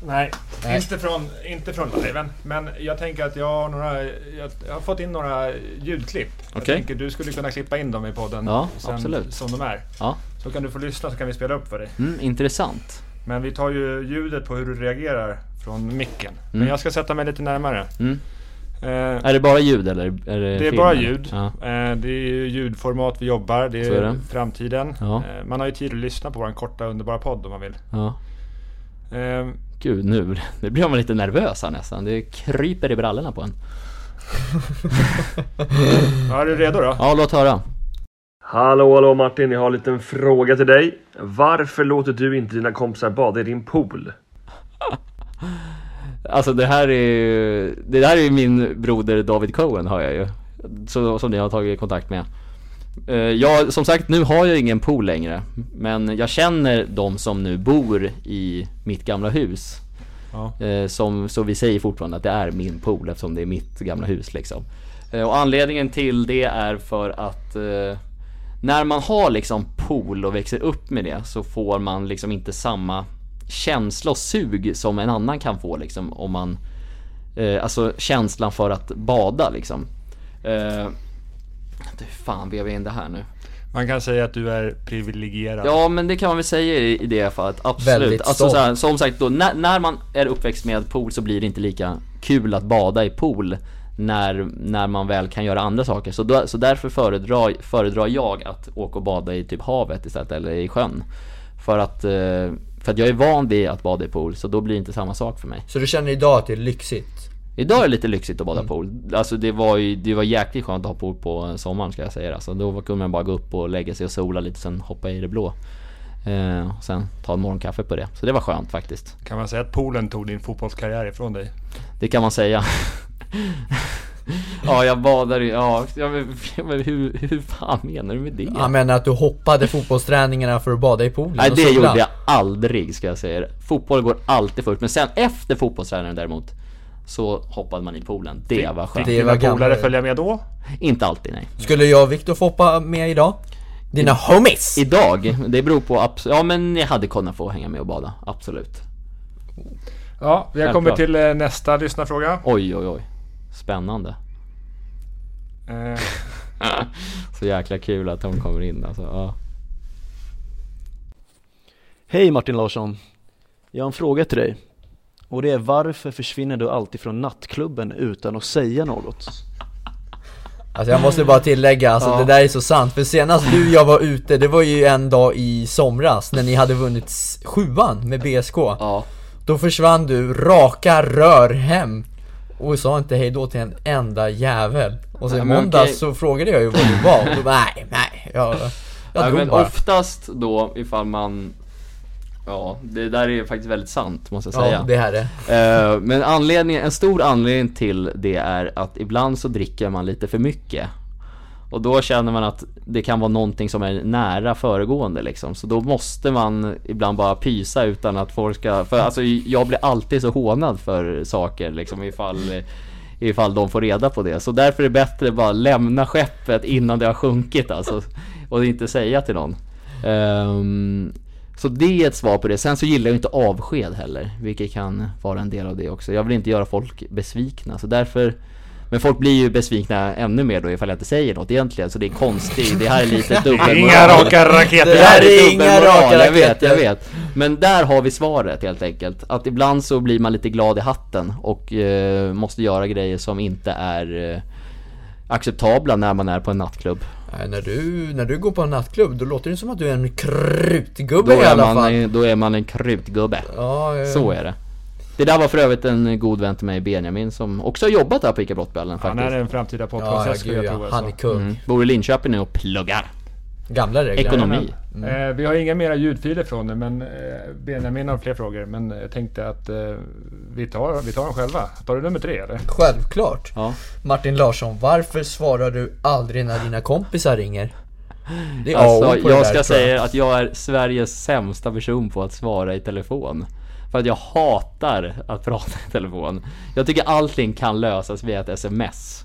Speaker 1: Nej,
Speaker 3: Nej.
Speaker 1: Inte från, inte från liven, men jag tänker att jag har, några, jag, jag har fått in några ljudklipp. Jag
Speaker 2: Okej.
Speaker 1: tänker du skulle kunna klippa in dem i podden
Speaker 2: Ja, absolut.
Speaker 1: som de är.
Speaker 2: Ja.
Speaker 1: Så kan du få lyssna så kan vi spela upp för dig.
Speaker 2: Mm, intressant.
Speaker 1: Men vi tar ju ljudet på hur du reagerar från micken. Men jag ska sätta mig lite närmare.
Speaker 2: Mm.
Speaker 1: Eh,
Speaker 2: Är det bara ljud eller? Är det,
Speaker 1: Det är
Speaker 2: film,
Speaker 1: bara
Speaker 2: eller?
Speaker 1: ljud.
Speaker 2: Ja.
Speaker 1: Eh, Det är ju ljudformat vi jobbar. Det är,
Speaker 2: Så är det.
Speaker 1: framtiden.
Speaker 2: Ja.
Speaker 1: Eh, Man har ju tid att lyssna på vår korta underbara podd om man vill.
Speaker 2: ja.
Speaker 1: Eh,
Speaker 2: Gud, nu, nu blir man lite nervös här nästan. Det kryper i brallorna på en.
Speaker 1: Ja, är du redo då?
Speaker 2: Ja, låt höra.
Speaker 6: Hallå, hallå Martin, jag har en liten fråga till dig. Varför låter du inte dina kompisar bada i din pool?
Speaker 2: Alltså det här är ju, det där är ju min broder David Cohen har jag ju. Så, som ni har tagit kontakt med. Eh, Jag, som sagt, nu har jag ingen pool längre. Men jag känner de som nu bor i mitt gamla hus.
Speaker 1: Ja.
Speaker 2: Eh, Som, så vi säger fortfarande att det är min pool eftersom det är mitt gamla hus liksom. Eh, Och anledningen till det är för att eh, när man har liksom pool och växer upp med det så får man liksom inte samma känsla och sug som en annan kan få liksom om man eh, Alltså känslan för att bada liksom. Eh, hur fan vevar jag in det här nu?
Speaker 1: Man kan säga att du är privilegierad.
Speaker 2: Ja men det kan man väl säga i i det fallet, absolut.
Speaker 3: Väldigt
Speaker 2: alltså,
Speaker 3: stolt.
Speaker 2: så här, som sagt, då, när, när man är uppväxt med pool så blir det inte lika kul att bada i pool när, när man väl kan göra andra saker. Så, då, så därför föredrar, föredrar jag att åka och bada i typ havet istället, eller i sjön. För att, eh, för att jag är van vid att bada i pool, så då blir det inte samma sak för mig.
Speaker 3: Så du känner idag att det är lyxigt?
Speaker 2: Idag är det lite lyxigt att bada pool. Alltså det var ju, det var jäkligt skönt att ha pool på sommaren ska jag säga. Alltså då kunde man bara gå upp och lägga sig och sola lite, sen hoppa i det blå. Eh, och sen ta en morgonkaffe på det. Så det var skönt faktiskt.
Speaker 1: Kan man säga att poolen tog din fotbollskarriär ifrån dig?
Speaker 2: Det kan man säga. ja, jag badar i, ja, ja, men, ja, men hur, hur fan menar du med det?
Speaker 3: Han menar att du hoppade fotbollsträningarna för att bada i poolen
Speaker 2: Nej
Speaker 3: och
Speaker 2: det
Speaker 3: sola.
Speaker 2: gjorde jag aldrig ska jag säga er. Fotboll går alltid först, men sen efter fotbollsträningen däremot så hoppade man i poolen. Det var skönt.
Speaker 3: Det
Speaker 1: Dina
Speaker 3: var
Speaker 1: polare
Speaker 3: gammal.
Speaker 1: följa med då?
Speaker 2: Inte alltid nej.
Speaker 3: Skulle jag och Viktor få hoppa med idag? Dina homies!
Speaker 2: Idag? Det beror på absolut, ja men jag hade kunnat få hänga med och bada, absolut.
Speaker 1: Ja, vi har
Speaker 2: Självklart.
Speaker 1: kommit till eh, nästa lyssnarfråga.
Speaker 2: Oj oj oj. Spännande.
Speaker 1: Eh,
Speaker 2: Så jäkla kul att de kommer in alltså. Ja.
Speaker 7: Hej Martin Larsson! Jag har en fråga till dig. Och det är varför försvinner du alltid från nattklubben utan att säga något?
Speaker 3: Alltså jag måste bara tillägga, alltså det där är så sant. För senast du och jag var ute, det var ju en dag i somras när ni hade vunnit s- sjuan med BSK.
Speaker 2: ja.
Speaker 3: Då försvann du raka rör hem och sa inte hejdå till en enda jävel. Och sen
Speaker 2: Nej,
Speaker 3: i
Speaker 2: men
Speaker 3: måndags
Speaker 2: okej.
Speaker 3: så frågade jag ju var du var och du bara, nej, nej, jag, jag
Speaker 2: Ja,
Speaker 3: drog
Speaker 2: men
Speaker 3: bara.
Speaker 2: oftast då ifall man Ja, det där är faktiskt väldigt sant måste jag säga.
Speaker 3: Ja, det här är
Speaker 2: Eh, men anledningen, en stor anledning till det är att ibland så dricker man lite för mycket. Och då känner man att det kan vara någonting som är nära föregående liksom. Så då måste man ibland bara pysa utan att folk ska... För alltså jag blir alltid så hånad för saker liksom ifall, ifall de får reda på det. Så därför är det bättre att bara lämna skeppet innan det har sjunkit alltså. Och inte säga till någon. Ehm, så det är ett svar på det. Sen så gillar jag inte avsked heller, vilket kan vara en del av det också. Jag vill inte göra folk besvikna, så därför men folk blir ju besvikna ännu mer då ifall jag inte säger något egentligen, så det är konstigt. Det här är lite dubbelmoral.
Speaker 1: Inga raka raketer!
Speaker 3: Det
Speaker 2: Det här
Speaker 3: där är
Speaker 2: är
Speaker 3: inga
Speaker 2: dubbelmoral,
Speaker 3: raka
Speaker 2: jag vet, jag
Speaker 3: raketter.
Speaker 2: vet. Men där har vi svaret helt enkelt. Att ibland så blir man lite glad i hatten och eh, måste göra grejer som inte är eh, acceptabla när man är på en nattklubb.
Speaker 3: Nej, när, du, när du går på en nattklubb, då låter det som att du är en krutgubbe
Speaker 2: Då
Speaker 3: i
Speaker 2: är,
Speaker 3: alla
Speaker 2: man,
Speaker 3: fall.
Speaker 2: en- då är man en krutgubbe.
Speaker 3: Ja, eh,
Speaker 2: Så är det. Det där var för övrigt en god vän till mig, Benjamin, som också har jobbat här på ICA Brottbällen
Speaker 1: Han är
Speaker 2: faktiskt.
Speaker 1: en framtida
Speaker 3: ja, ja,
Speaker 1: podcastgäst skulle
Speaker 3: gud,
Speaker 1: jag
Speaker 3: ja.
Speaker 1: tro.
Speaker 3: Han är
Speaker 1: alltså.
Speaker 3: kung.
Speaker 2: Mm. Bor i Linköping nu och pluggar.
Speaker 3: Gamla regler.
Speaker 2: Ekonomi.
Speaker 3: Mm.
Speaker 1: Eh, vi har inga mera ljudfiler från det, men eh, Benjamin har fler frågor. Men jag tänkte att eh, vi, tar, vi tar dem själva. Tar du nummer tre eller?
Speaker 3: Självklart.
Speaker 2: Ja.
Speaker 3: Martin Larsson, varför svarar du aldrig när dina kompisar ringer? Det är A och O
Speaker 2: Alltså,
Speaker 3: på det
Speaker 2: jag
Speaker 3: där,
Speaker 2: ska
Speaker 3: tror jag.
Speaker 2: säga att jag är Sveriges sämsta person på att svara i telefon. För att jag hatar att prata i telefon. Jag tycker allting kan lösas via ett sms.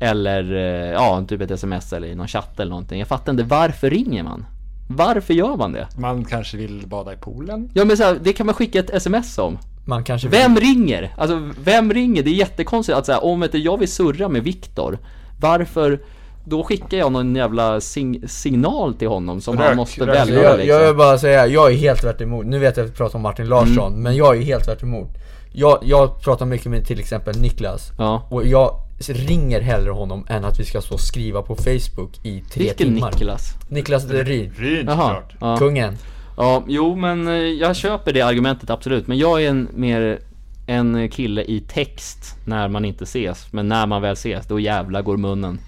Speaker 2: Eller, eh, ja, typ ett sms eller i någon chatt eller någonting. Jag fattar inte, varför ringer man? Varför gör man det?
Speaker 1: Man kanske vill bada i poolen?
Speaker 2: Ja men så här, det kan man skicka ett sms om.
Speaker 3: Man kanske
Speaker 2: Vem ringer? Alltså vem ringer? Det är jättekonstigt att säga om inte jag vill surra med Viktor Varför? Då skickar jag någon jävla sing- signal till honom som
Speaker 1: Rök,
Speaker 2: han måste
Speaker 1: rök.
Speaker 2: välja
Speaker 3: jag,
Speaker 2: liksom.
Speaker 3: jag vill bara säga, jag är helt tvärt emot. Nu vet jag att vi pratar om Martin Larsson,
Speaker 2: Mm.
Speaker 3: men jag är helt tvärt emot. Jag, jag pratar mycket med till exempel Niklas.
Speaker 2: Ja.
Speaker 3: Och jag ringer hellre honom än att vi ska stå och skriva på Facebook i tre
Speaker 2: Vilken
Speaker 3: timmar.
Speaker 2: Niklas?
Speaker 3: Niklas Deryd.
Speaker 1: Ryn
Speaker 2: Jaha,
Speaker 1: såklart.
Speaker 2: ja.
Speaker 3: Kungen.
Speaker 2: ja, jo men eh, jag köper det argumentet absolut Men jag är en mer en kille i text när man inte ses Men när man väl ses, då jävla går munnen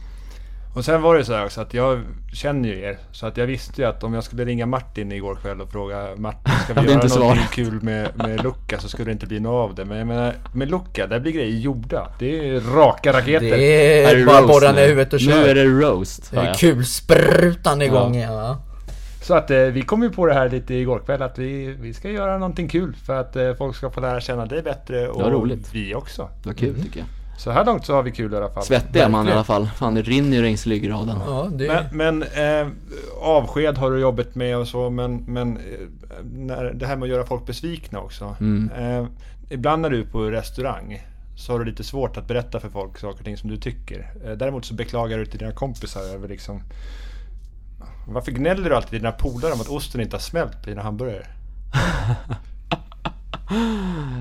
Speaker 1: Och sen var det så här också att jag känner ju er. Så att jag visste ju att om jag skulle ringa Martin igår kväll och fråga Martin, ska vi
Speaker 2: Hade
Speaker 1: göra
Speaker 2: inte
Speaker 1: någonting
Speaker 2: svarat.
Speaker 1: kul med, med Luca så skulle det inte bli något av det. Men jag menar, med Luca, där blir grejer gjorda. Det är raka raketer.
Speaker 3: Det
Speaker 2: Här
Speaker 3: är bara
Speaker 2: roast
Speaker 3: borra
Speaker 2: nu.
Speaker 3: ner huvudet och
Speaker 2: Nu är
Speaker 3: kör.
Speaker 2: det roast
Speaker 3: Det
Speaker 2: hör
Speaker 3: är
Speaker 2: jag.
Speaker 3: kulsprutan igång igen va?
Speaker 1: Så att eh, vi kom ju på det här lite igår kväll att vi, vi ska göra någonting kul för att eh, folk ska få lära känna dig bättre och
Speaker 2: Ja, roligt.
Speaker 1: vi också.
Speaker 2: Det var kul
Speaker 3: Mm.
Speaker 2: tycker jag
Speaker 1: Så här långt så har vi kul i alla fall.
Speaker 2: Svettig är man i alla fall, fan det rinner ju längs ryggraden
Speaker 3: Ja, det är...
Speaker 1: Men, men eh, avsked har du jobbat med och så, men, men eh, när, det här med att göra folk besvikna också.
Speaker 2: Mm.
Speaker 1: Eh, ibland när du är på restaurang så har du lite svårt att berätta för folk saker och ting som du tycker. Eh, däremot så beklagar du till dina kompisar över liksom... Varför gnäller du alltid dina polare om att osten inte har smält på dina hamburgare?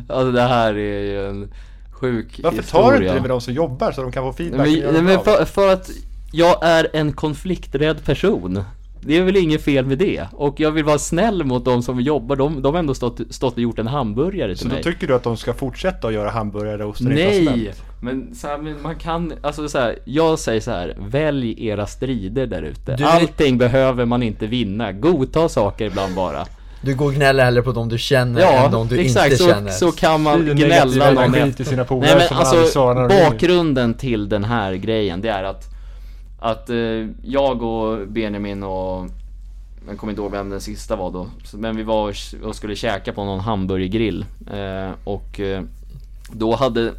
Speaker 2: Alltså det här är ju en sjuk
Speaker 1: Varför
Speaker 2: historia.
Speaker 1: tar du inte det med de som jobbar så de kan få feedback? och
Speaker 2: Nej,
Speaker 1: göra
Speaker 2: Men, nej,
Speaker 1: det
Speaker 2: men
Speaker 1: bra?
Speaker 2: för, för att jag är en konflikträdd person. Det är väl inget fel med det. Och jag vill vara snäll mot de som jobbar. De, de har ändå stått, stått och gjort en hamburgare till
Speaker 1: så då
Speaker 2: mig.
Speaker 1: tycker du att de ska fortsätta att göra hamburgare där osten inte har
Speaker 2: Nej!
Speaker 1: smält?
Speaker 2: Men, så här, men man kan, alltså så här, jag säger så här, välj era strider där ute.
Speaker 3: Du-
Speaker 2: Allting behöver man inte vinna. Godta saker ibland bara.
Speaker 3: Du går och gnäller hellre på de du känner än
Speaker 2: Ja,
Speaker 3: de du
Speaker 2: exakt
Speaker 3: inte
Speaker 2: så,
Speaker 3: känner.
Speaker 2: så kan man
Speaker 1: Sprider negativ
Speaker 2: gnälla någon
Speaker 1: energi
Speaker 2: efter.
Speaker 1: till sina polare
Speaker 2: Nej
Speaker 1: som
Speaker 2: men
Speaker 1: man aldrig
Speaker 2: alltså
Speaker 1: svarar när de ringer.
Speaker 2: bakgrunden till den här grejen det är att Att eh, jag och Benjamin och Jag kommer inte ihåg vem den sista var då så- Men vi var och- och skulle käka på någon hamburgergrill eh, Och eh, då hade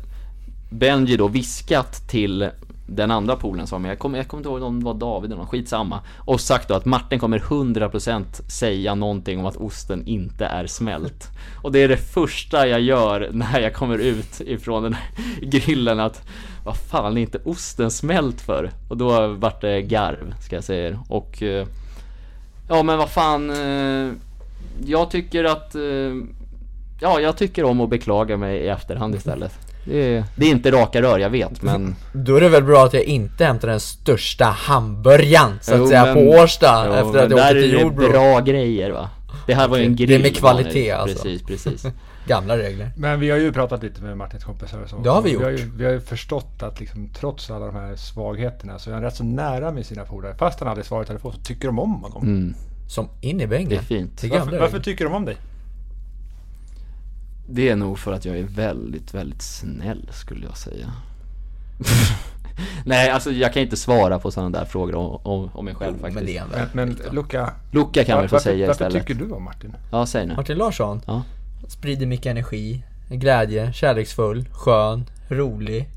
Speaker 2: Benji då viskat till den andra polen som var med, jag kommer jag kommer inte ihåg om det var David eller någon, skitsamma. Och sagt då att Martin kommer 100% säga någonting om att osten inte är smält. Och det är det första jag gör när jag kommer ut ifrån den här grillen att vad fan är inte osten smält för? Och då vart det garv ska jag säga er. Och eh, ja men vad fan eh, jag tycker att eh, Ja, jag tycker om att beklaga mig i efterhand istället. Det är, det är inte raka rör, jag vet, men...
Speaker 3: Då är det väl bra att jag inte hämtar den största hamburgaren så att
Speaker 2: Jo,
Speaker 3: säga
Speaker 2: men-
Speaker 3: på Årsta
Speaker 2: Jo,
Speaker 3: efter
Speaker 2: men
Speaker 3: att jag
Speaker 2: där
Speaker 3: åkte
Speaker 2: är
Speaker 3: till
Speaker 2: det
Speaker 3: Jordbro.
Speaker 2: bra grejer va? Det här var ju en
Speaker 3: Det är
Speaker 2: grill.
Speaker 3: med kvalitet,
Speaker 2: Daniel.
Speaker 3: alltså.
Speaker 2: Precis, precis.
Speaker 3: Gamla regler.
Speaker 1: Men vi har ju pratat lite med Martins kompisar och så.
Speaker 3: Det har vi
Speaker 1: Och Har
Speaker 3: gjort.
Speaker 1: ju, vi har ju förstått att liksom, trots alla de här svagheterna så är han rätt så nära med sina polare. Fast han aldrig svarar i telefon så tycker de om honom.
Speaker 3: Mm. Som in i
Speaker 2: Det är
Speaker 3: bängen.
Speaker 2: fint.
Speaker 3: Det är gamla
Speaker 1: Varför, varför
Speaker 3: regler.
Speaker 1: tycker de om dig?
Speaker 2: Det är nog för att jag är väldigt, väldigt snäll skulle jag säga. Nej, alltså jag kan inte svara på sådana där frågor om, om, om mig själv
Speaker 3: Men
Speaker 2: faktiskt.
Speaker 3: det är en
Speaker 1: Men,
Speaker 3: väl.
Speaker 1: men Luca,
Speaker 2: Luca kan väl få
Speaker 1: varför,
Speaker 2: säga
Speaker 1: varför
Speaker 2: istället.
Speaker 1: tycker du om Martin?
Speaker 2: Ja, säg nu.
Speaker 3: Martin Larsson.
Speaker 2: Ja.
Speaker 3: Sprider mycket energi, glädje, kärleksfull, skön, rolig.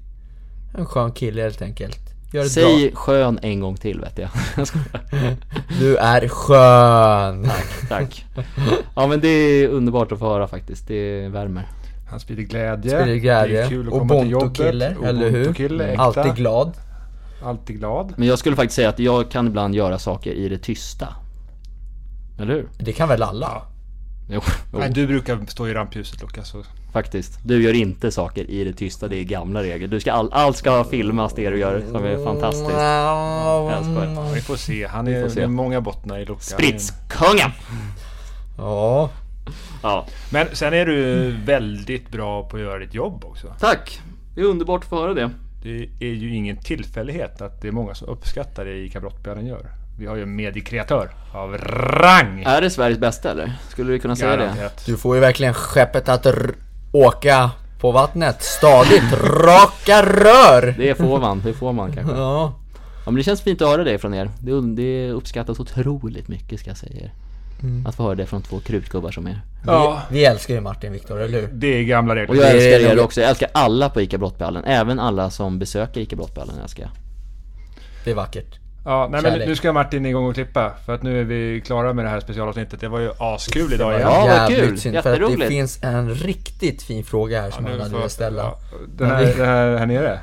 Speaker 3: En skön kille helt enkelt. Gör det
Speaker 2: Säg skön en gång till vet jag. Jag skojar.
Speaker 3: bra. Du är skön.
Speaker 2: Tack. Ja men det är underbart att få höra faktiskt. Det värmer.
Speaker 1: Han sprider glädje.
Speaker 3: Sprider
Speaker 1: Det
Speaker 3: glädje.
Speaker 1: är kul att komma till jobbet.
Speaker 3: Ubuntu-kille, eller hur? Mm.
Speaker 1: Ubuntu-kille, äkta.
Speaker 3: Alltid glad. Mm.
Speaker 1: Alltid glad.
Speaker 2: Men jag skulle faktiskt säga att jag kan ibland göra saker i det tysta. Eller hur?
Speaker 3: Det kan väl alla?
Speaker 2: Jo, jo
Speaker 1: Nej, du brukar stå i rampljuset Luca. Så.
Speaker 2: faktiskt. Du gör inte saker i det tysta, det är gamla regler. Du ska all, allt ska filmas det du gör som är fantastiskt. Jag skojar.
Speaker 1: Vi får se. Han är,
Speaker 2: får se.
Speaker 1: Det är många bottnar i Luca.
Speaker 2: Spritskungen!
Speaker 3: Ja,
Speaker 2: Ja,
Speaker 1: Men sen är du väldigt bra på att göra ditt jobb också.
Speaker 2: tack! Det är underbart att få höra det.
Speaker 1: Det är ju ingen tillfällighet att det är många som uppskattar det ICA Brottbjörnen gör. Vi har ju en mediekreatör av rang!
Speaker 2: Är det Sveriges bästa eller? Skulle du kunna säga det?
Speaker 1: Garanterat.
Speaker 3: du får ju verkligen skeppet att r- åka på vattnet stadigt. Raka rör!
Speaker 2: Det får man, det får man kanske.
Speaker 3: Ja.
Speaker 2: Ja men det känns fint att höra det från er. Det, un- det uppskattas otroligt mycket ska jag säga er. Att få höra det från två krutgubbar som er.
Speaker 1: Ja,
Speaker 3: Vi älskar ju Martin Viktor, eller hur?
Speaker 1: det är gamla
Speaker 2: Och
Speaker 1: regler.
Speaker 2: jag
Speaker 3: Det är
Speaker 2: älskar er
Speaker 3: nog-
Speaker 2: också, jag älskar alla på ICA Brottballen, även alla som besöker ICA Brottballen älskar jag.
Speaker 3: Det är vackert.
Speaker 1: Ja, nej, men
Speaker 3: Kärlek.
Speaker 1: nu ska Martin igång och klippa. För att nu är vi klara med det här specialavsnittet. Det var ju askul idag igen.
Speaker 2: Ja, vad
Speaker 3: Jävligt
Speaker 2: kul.
Speaker 3: synd, för att det
Speaker 2: Jätteroligt.
Speaker 3: finns en riktigt fin fråga här som
Speaker 1: Nu
Speaker 3: han hade
Speaker 1: får-
Speaker 3: velat ställa.
Speaker 1: ja, Den här, det här, här nere.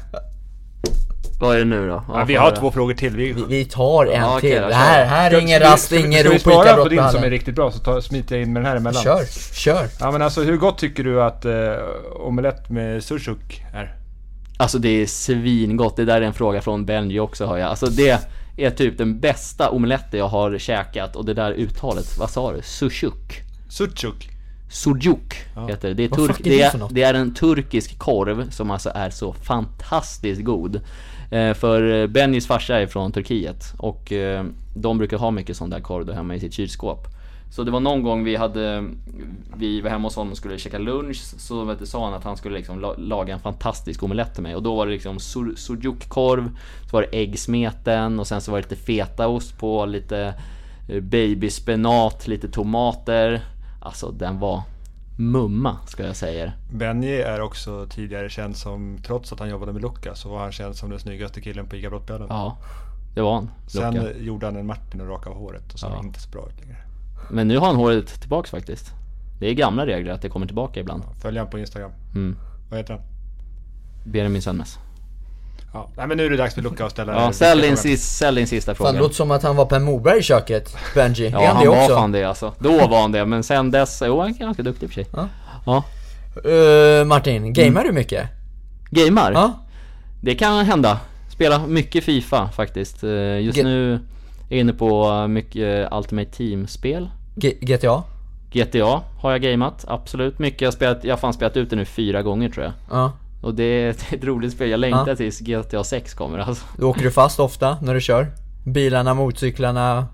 Speaker 2: Vad är det nu då? Ja,
Speaker 1: Ja, vi
Speaker 2: får
Speaker 1: har
Speaker 2: höra.
Speaker 1: två frågor till. Vi,
Speaker 3: Vi, vi tar en
Speaker 2: Ja, okej,
Speaker 3: till.
Speaker 2: då,
Speaker 3: Det här,
Speaker 2: kör.
Speaker 3: här
Speaker 1: Ska-
Speaker 3: är ingen
Speaker 1: ska vi-
Speaker 3: rast,
Speaker 1: ska vi-
Speaker 3: ingen
Speaker 1: Ska vi
Speaker 3: rop och
Speaker 1: svara
Speaker 3: inga
Speaker 1: på
Speaker 3: brott på
Speaker 1: din som är
Speaker 3: hallen.
Speaker 1: riktigt bra så ta, smiter jag in med den här emellan.
Speaker 3: Kör, kör.
Speaker 1: Ja men alltså hur gott tycker du att eh, omelett med sursuk är?
Speaker 2: Alltså det är svingott, det där är en fråga från Benji också hör jag. Alltså det är typ den bästa omeletten jag har käkat och det där uttalet, vad sa du? Sushuk?
Speaker 1: Sursuk?
Speaker 2: Sujuk heter det. Det är,
Speaker 3: Vad
Speaker 2: turk,
Speaker 3: fuck är det
Speaker 2: det, är,
Speaker 3: för något?
Speaker 2: det är en turkisk korv som alltså är så fantastiskt god. Eh, för eh, Bennys farsa är från Turkiet och eh, de brukar ha mycket sån där korv då hemma i sitt kylskåp. Så det var någon gång vi hade, vi var hemma hos honom och skulle käka lunch, så vet du, sa han att han skulle liksom la- laga en fantastisk omelett till mig. Och då var det liksom sur- sujukkorv, så var det äggsmeten och sen så var det lite fetaost på, lite eh, babyspenat, lite tomater. Alltså den var mumma ska jag säga er.
Speaker 1: Benji är också tidigare känd som, trots att han jobbade med Luca, så var han känd som den snyggaste killen på ICA Brottbjörnen.
Speaker 2: Ja, det var han.
Speaker 1: Sen
Speaker 2: Lucka.
Speaker 1: eh, gjorde han en Martin och rakade av håret och såg inte så bra ut längre.
Speaker 2: Men nu har han håret tillbaks faktiskt. Det är gamla regler att det kommer tillbaka ibland.
Speaker 1: Följ han på Instagram.
Speaker 2: Mm.
Speaker 1: Vad heter han?
Speaker 2: Benjamin Sönmez.
Speaker 1: Ja. Nej men nu är det dags för Luca att ställa
Speaker 2: Ja, ställ din, sis, ställ din sista
Speaker 3: Fan,
Speaker 2: fråga.
Speaker 3: det låter som att han var Per Morberg i köket, Benji.
Speaker 2: Ja,
Speaker 3: är han
Speaker 2: han
Speaker 3: det
Speaker 2: var
Speaker 3: också?
Speaker 2: fan det alltså. Då var han det, men sen dess, jo han är ganska duktig i och för sig. Ja.
Speaker 3: Eh,
Speaker 2: Mm.
Speaker 3: Martin, gamer du mycket?
Speaker 2: Gamer?
Speaker 3: Ja?
Speaker 2: Det kan hända. Spela mycket FIFA faktiskt. Eh, Just
Speaker 3: Ge-
Speaker 2: nu är jag inne på mycket eh, Ultimate Team-spel.
Speaker 3: G- GTA?
Speaker 2: GTA har jag gameat, absolut. Mycket. Jag har spelat, jag har fan spelat ut det nu fyra gånger tror jag.
Speaker 3: Ja.
Speaker 2: Och det är ett- ett roligt spel, jag längtar tills GTA 6 kommer alltså.
Speaker 3: Då åker du fast ofta när du kör? Bilarna, motorcyklarna,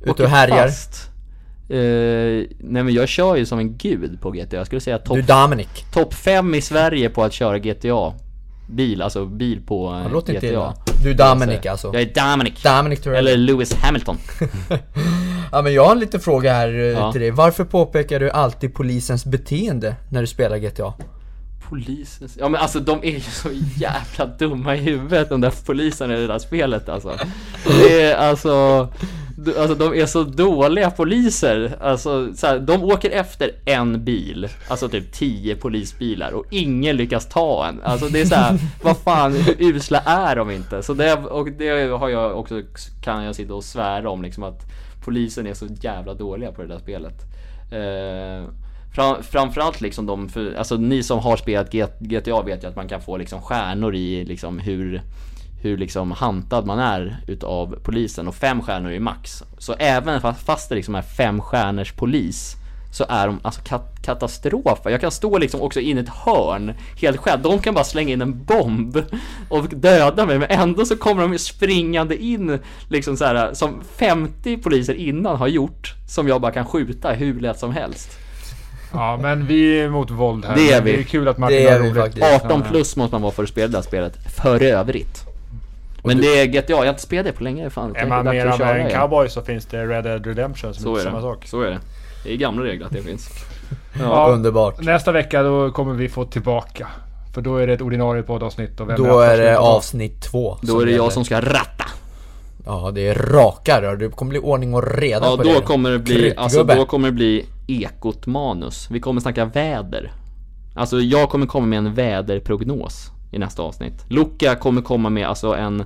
Speaker 3: ute
Speaker 2: Åker
Speaker 3: och härjar?
Speaker 2: fast. Eh, nej men jag kör ju som en gud på GTA, jag skulle säga topp
Speaker 3: Du Dominic.
Speaker 2: top 5 i Sverige på att köra GTA. Bil, alltså bil på eh,
Speaker 3: Det låter
Speaker 2: GTA.
Speaker 3: inte illa. Du Dominic alltså.
Speaker 2: Jag är Dominic.
Speaker 3: Dominic tror jag.
Speaker 2: Eller Lewis Hamilton.
Speaker 3: Ja men jag har en liten fråga här eh,
Speaker 2: Ja.
Speaker 3: till dig. Varför påpekar du alltid polisens beteende när du spelar GTA?
Speaker 2: Polisen, ja men alltså de är ju så jävla dumma i huvudet de där poliserna i det där spelet alltså. Det är alltså, d- alltså de är så dåliga poliser. Alltså så här, de åker efter en bil, alltså typ 10 polisbilar och ingen lyckas ta en. Alltså det är så här, vad fan, hur usla är de inte? Så det, och det har jag också, kan jag sitta och svära om liksom att polisen är så jävla dåliga på det där spelet. Eh, fram, framförallt liksom de, för, alltså ni som har spelat G- GTA vet ju att man kan få liksom stjärnor i liksom hur, hur liksom hantad man är utav polisen och fem stjärnor är max. Så även fast, fast det liksom är fem stjärnors polis så är de alltså kat- katastrofer. Jag kan stå liksom också in i ett hörn helt själv. De kan bara slänga in en bomb och döda mig men ändå så kommer de springande in liksom så här som 50 poliser innan har gjort som jag bara kan skjuta hur lätt som helst.
Speaker 1: Ja men vi är mot våld här.
Speaker 2: Det är
Speaker 1: Men
Speaker 2: vi.
Speaker 1: Det är kul att Martin
Speaker 3: Det
Speaker 1: har
Speaker 3: är vi
Speaker 1: roligt.
Speaker 3: faktiskt.
Speaker 2: 18 plus måste man vara för att spela det här spelet, för övrigt. Men det är GTA, jag har inte spelat det på länge. Fan,
Speaker 1: Är
Speaker 2: tänk
Speaker 1: man
Speaker 2: att det är dags
Speaker 1: mer
Speaker 2: att köra
Speaker 1: med en
Speaker 2: igen.
Speaker 1: cowboy så finns det Red Dead Redemption som
Speaker 2: Så
Speaker 1: är
Speaker 2: är
Speaker 1: samma sak.
Speaker 2: det. Så är det. Det är gamla regler att det finns.
Speaker 1: Ja,
Speaker 3: Underbart.
Speaker 1: Nästa vecka då kommer vi få tillbaka. För då är det ett ordinarie poddavsnitt. Och vem
Speaker 3: Då är det
Speaker 1: första?
Speaker 3: avsnitt två
Speaker 2: Då är det
Speaker 3: gäller.
Speaker 2: jag som ska ratta.
Speaker 3: Ja det är raka rör, det kommer bli ordning och reda
Speaker 2: Ja,
Speaker 3: på
Speaker 2: då
Speaker 3: det.
Speaker 2: kommer det bli,
Speaker 3: Kryddgubbe.
Speaker 2: alltså då kommer det bli ekot manus. Vi kommer snacka väder. Alltså jag kommer komma med en väderprognos i nästa avsnitt. Luca kommer komma med alltså en,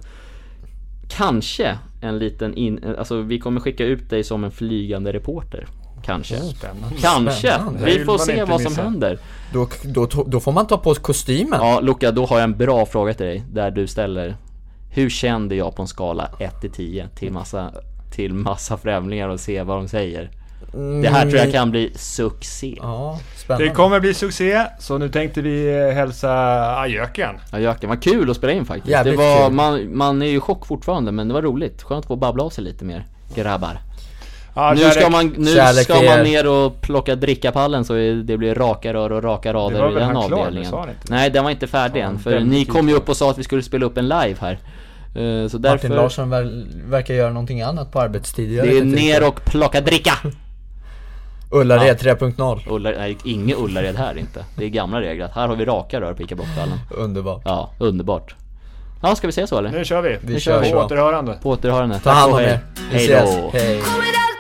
Speaker 2: kanske en liten in, alltså vi kommer skicka ut dig som en flygande reporter. Kanske.
Speaker 1: Spännande.
Speaker 2: Kanske.
Speaker 3: Spännande.
Speaker 1: Det
Speaker 2: Vi
Speaker 1: vill
Speaker 2: får
Speaker 1: man
Speaker 2: se
Speaker 1: inte
Speaker 2: vad som
Speaker 1: missa.
Speaker 2: händer.
Speaker 3: då, då, to- då får man ta på sig kostymen.
Speaker 2: Ja, Luca, då har jag en bra fråga till dig. Där du ställer, hur känd är jag på en skala 1 till 10 till massa, till massa främlingar och se vad de säger? Det här tror jag kan bli succé.
Speaker 3: Ja,
Speaker 1: Det
Speaker 3: spännande.
Speaker 1: kommer bli succé. Så nu tänkte vi eh, hälsa ajöken.
Speaker 2: Ja, Jöken, vad kul att spela in faktiskt.
Speaker 3: Jävligt
Speaker 2: det var,
Speaker 3: kul.
Speaker 2: man, man är ju i chock fortfarande, men det var roligt. Skönt att få babbla av sig lite mer, grabbar.
Speaker 1: Ja,
Speaker 2: Nu
Speaker 1: kärlek.
Speaker 2: ska man, nu
Speaker 3: Kärlek
Speaker 2: ska
Speaker 3: till er.
Speaker 2: man ner och plocka drickapallen så det blir raka rör och raka rader
Speaker 1: var
Speaker 2: i
Speaker 1: väl
Speaker 2: den
Speaker 1: han klar,
Speaker 2: avdelningen.
Speaker 1: sa han inte det?
Speaker 2: Nej, den var inte färdig än. För
Speaker 1: den
Speaker 2: ni
Speaker 1: gick
Speaker 2: kom ju upp och sa att vi skulle spela upp en live här. Eh, Så
Speaker 3: Martin
Speaker 2: därför...
Speaker 3: Larsson ver verkar göra någonting annat på arbetstid. Jag
Speaker 2: Det
Speaker 3: vet
Speaker 2: är
Speaker 3: inte
Speaker 2: ner
Speaker 3: riktigt.
Speaker 2: och plocka dricka!
Speaker 3: Ullared 3.0.
Speaker 2: Ulla, nej, inget Ullared här inte. Det är gamla regler. Här har vi raka rör på ICA Brottballen.
Speaker 3: Underbart.
Speaker 2: Ja, underbart. Ja, ska vi säga så eller?
Speaker 1: Nu kör vi!
Speaker 3: Vi kör
Speaker 1: På
Speaker 3: så.
Speaker 1: återhörande!
Speaker 2: På återhörande.
Speaker 3: Ta hand om
Speaker 2: Tack och
Speaker 3: er.
Speaker 2: hej.
Speaker 3: Vi
Speaker 2: Hej
Speaker 3: ses.
Speaker 2: då.
Speaker 3: Hej.
Speaker 4: Kommer aldrig Ah, ah,